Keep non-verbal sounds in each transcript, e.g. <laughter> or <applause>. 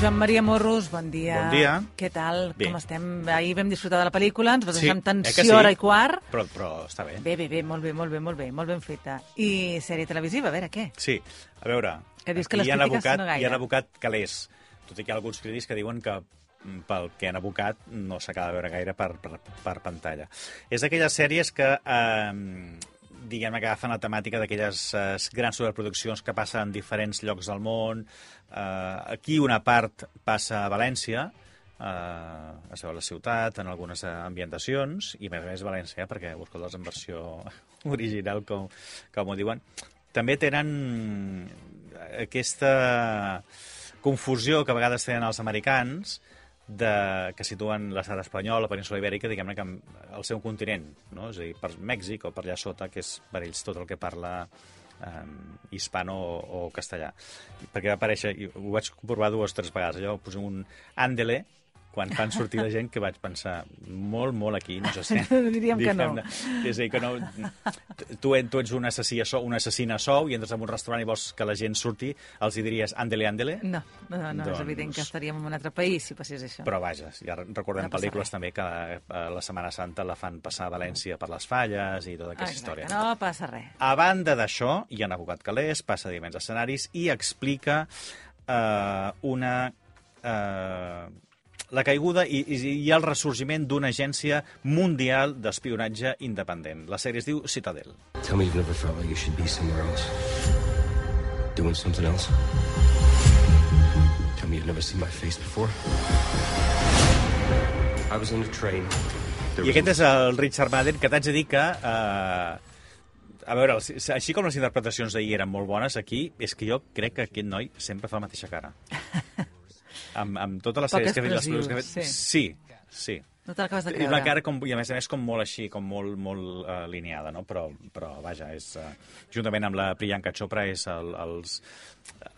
Joan Maria Morros, bon dia. Bon dia. Què tal? Bé. Com estem? Ahir vam disfrutar de la pel·lícula, ens vas deixar amb eh tensió, que sí? hora i quart. Però, però està bé. Bé, bé, bé, molt bé, molt bé, molt bé, molt ben feta. I sèrie televisiva, a veure què? Sí, a veure, Que dius que aquí les hi han crítiques abocat, no gaire. hi han abocat calés, tot i que hi ha alguns crítics que diuen que mm, pel que han abocat no s'acaba de veure gaire per, per, per pantalla. És d'aquelles sèries que, eh, diguem que agafen la temàtica d'aquelles eh, grans superproduccions que passen en diferents llocs del món. Eh, aquí una part passa a València, eh, es veu a la ciutat, en algunes eh, ambientacions, i a més a més València, perquè ho escoltes en versió <laughs> original, com, com ho diuen. També tenen aquesta confusió que a vegades tenen els americans de, que situen l'estat espanyol, la península ibèrica, diguem-ne que al seu continent, no? és a dir, per Mèxic o per allà sota, que és per ells tot el que parla eh, hispano o, o castellà. Perquè va aparèixer, i ho vaig comprovar dues o tres vegades, allò poso un àndele, quan fan sortir la gent que vaig pensar molt, molt aquí, no se sent. <laughs> Diríem que no. Diguem-ne. És a dir, que no... Tu, tu ets un assassí a sou, una assassina a sou i entres en un restaurant i vols que la gent surti, els hi diries àndele, àndele, No, no, no, no és Doncs- evident que estaríem en un altre país si passés això. però vaja, ja recordem No passa pel·lícules res. també que eh, la Setmana Santa la fan passar a València per les falles i tota Ah, aquesta Exacte, història. no passa res. A banda d'això, hi ha Abogat Calés, passa divendres escenaris i explica eh, una... Eh, la caiguda i, i, i el ressorgiment d'una agència mundial d'espionatge independent. La sèrie es diu Citadel. Tell me you've never felt like you should be somewhere else. Doing something else. Tell me you've never seen my face before. I was on a train. There I aquest és el Richard Madden, que t'haig de dir que... Eh, a veure, els- així com les interpretacions d'ahir eren molt bones, aquí és que jo crec que aquest noi sempre fa la mateixa cara. amb, amb totes les Poc sèries que ha fet, les expressiu, pel·lícules que ha fet... Sí, sí. No te l'acabes de És creure. una cara, com, i a més a més, com molt així, com molt, molt uh, lineada, no? Però, però vaja, és, uh, juntament amb la Priyanka Chopra, és el, els,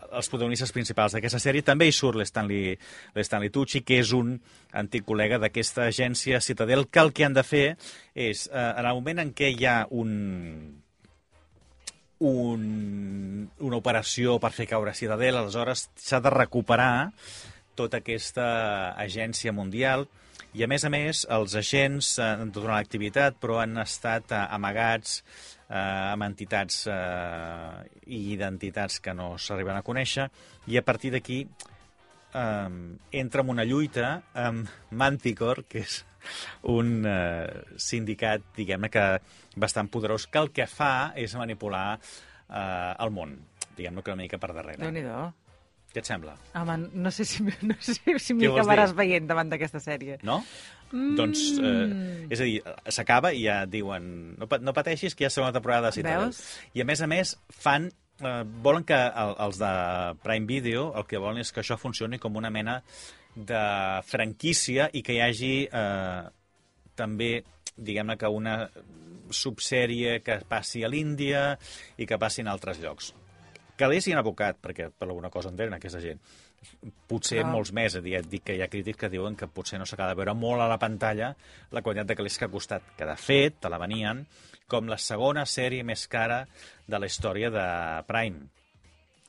els protagonistes principals d'aquesta sèrie. També hi surt l'Stanley l'Stanley Tucci, que és un antic col·lega d'aquesta agència Citadel, que el que han de fer és, uh, en el moment en què hi ha un, un, una operació per fer caure Citadel, aleshores s'ha de recuperar tota aquesta agència mundial i, a més a més, els agents eh, han tot una activitat, però han estat eh, amagats eh, amb entitats eh, i identitats que no s'arriben a conèixer i, a partir d'aquí, eh, entra en una lluita amb Manticore, que és un eh, sindicat, diguem-ne, que bastant poderós, que el que fa és manipular eh, el món, diguem-ne que una mica per darrere. Déu-n'hi-do. Què et sembla? Home, no sé si, no sé si m'hi vols dir? acabaràs veient davant d'aquesta sèrie. No? Mm. Doncs, eh, és a dir, s'acaba i ja diuen no, pa- no pateixis que hi ha segona temporada de Citadel. Veus? I a més a més fan eh, volen que el, els de Prime Video el que volen és que això funcioni com una mena de franquícia i que hi hagi eh, també diguem-ne que una subsèrie que passi a l'Índia i que passi en altres llocs. Que l'haguessin abocat, perquè per alguna cosa entenen aquesta gent. Potser Clar. molts més, és a dir, et dic que hi ha crítics que diuen que potser no s'acaba de veure molt a la pantalla la quantitat de calés que ha costat, que de fet te la venien com la segona sèrie més cara de la història de Prime.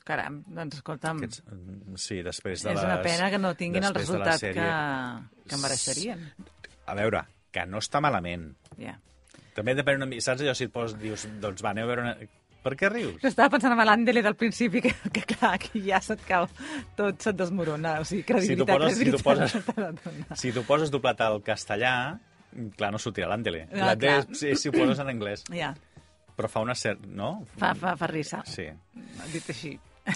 Caram, doncs escolta'm, Aquests, mm, sí, després de és una les, pena que no tinguin el després de la resultat sèrie- que, que mereixerien. A veure, que no està malament. Ja. També depèn una mica, saps allò si et poses, dius, doncs va, aneu a veure una... Per què <laughs> rius? No estava pensant en l'Andele del principi, que, que clar, aquí ja se't cau, tot se't desmorona, o sigui, credibilitat, poses- si t'ho credibilitat, poses- no te la dona. Si t'ho poses doblat al castellà, clar, no sortirà l'Andele. Ah, L'Andele clar. és si, si ho poses en anglès. Ja, Però fa una certa... No? fa, fa, fa risa, Sí, dit així.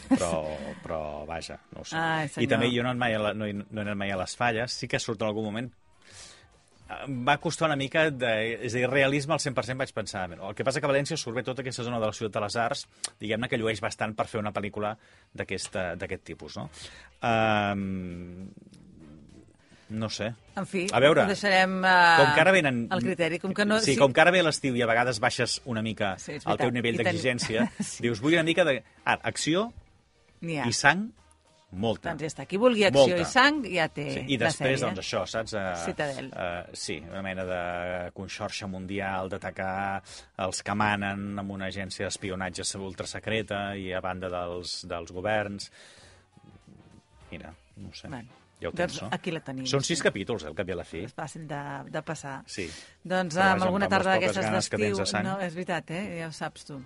però, però vaja, no ho sé. Ai, senyor. I també jo no, he anat mai a la, no, he, no he anat mai a les falles. Sí que surt en algun moment em va costar una mica, de, és a dir, realisme al 100% vaig pensar. El que passa que a València surt bé tota aquesta zona de la ciutat de les arts, diguem-ne que llueix bastant per fer una pel·lícula d'aquesta- d'aquest tipus, no? Um, no sé. En fi, A veure, ho deixarem uh, Com que ara venen... el criteri. Com que no, sí, com que ara ve l'estiu i a vegades baixes una mica Sí, és el teu veritat. nivell I tenim- d'exigència, <laughs> Sí. dius, vull una mica de... Ah, acció N'hi ha. i sang, molta. Doncs ja està, qui vulgui acció Molta. i sang ja té Sí, I la després, sèrie. doncs, això, saps? Uh, Citadel. Uh, sí, una mena de conxorxa mundial, d'atacar els que manen amb una agència d'espionatge ultrasecreta i a banda dels, dels governs. Mira, No ho sé. Bueno, ja ho doncs tens, no? aquí la tenim, Són sis sí. capítols, eh, al cap i a la fi. És fàcil de, de passar. Sí. Doncs Però amb vaja, alguna amb les tarda poques d'aquestes ganes que tens d'estiu... de sang. No, és veritat, eh? Ja ho saps tu.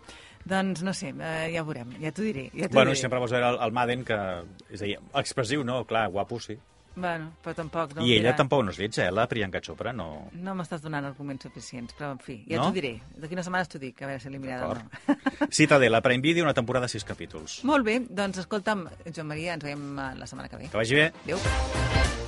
Doncs no sé, eh, ja ho veurem, ja t'ho diré. Ja t'ho Bueno, i diré. sempre vols veure el, el Madden, que... És a dir, expressiu, no? Clar, guapo, sí. Bueno, però tampoc... No I em ella dirà- tampoc no és lletja, eh? La Priyanka Chopra, no... No m'estàs donant arguments suficients, però en fi, ja No? t'ho diré. D'aquí unes setmanes t'ho dic, a veure si l'he mirat o no. D'acord. Citadela, Prime Video, una temporada, sis capítols. Molt bé, doncs escolta'm, Joan Maria, ens veiem eh, la setmana que ve. Que vagi bé. Adéu.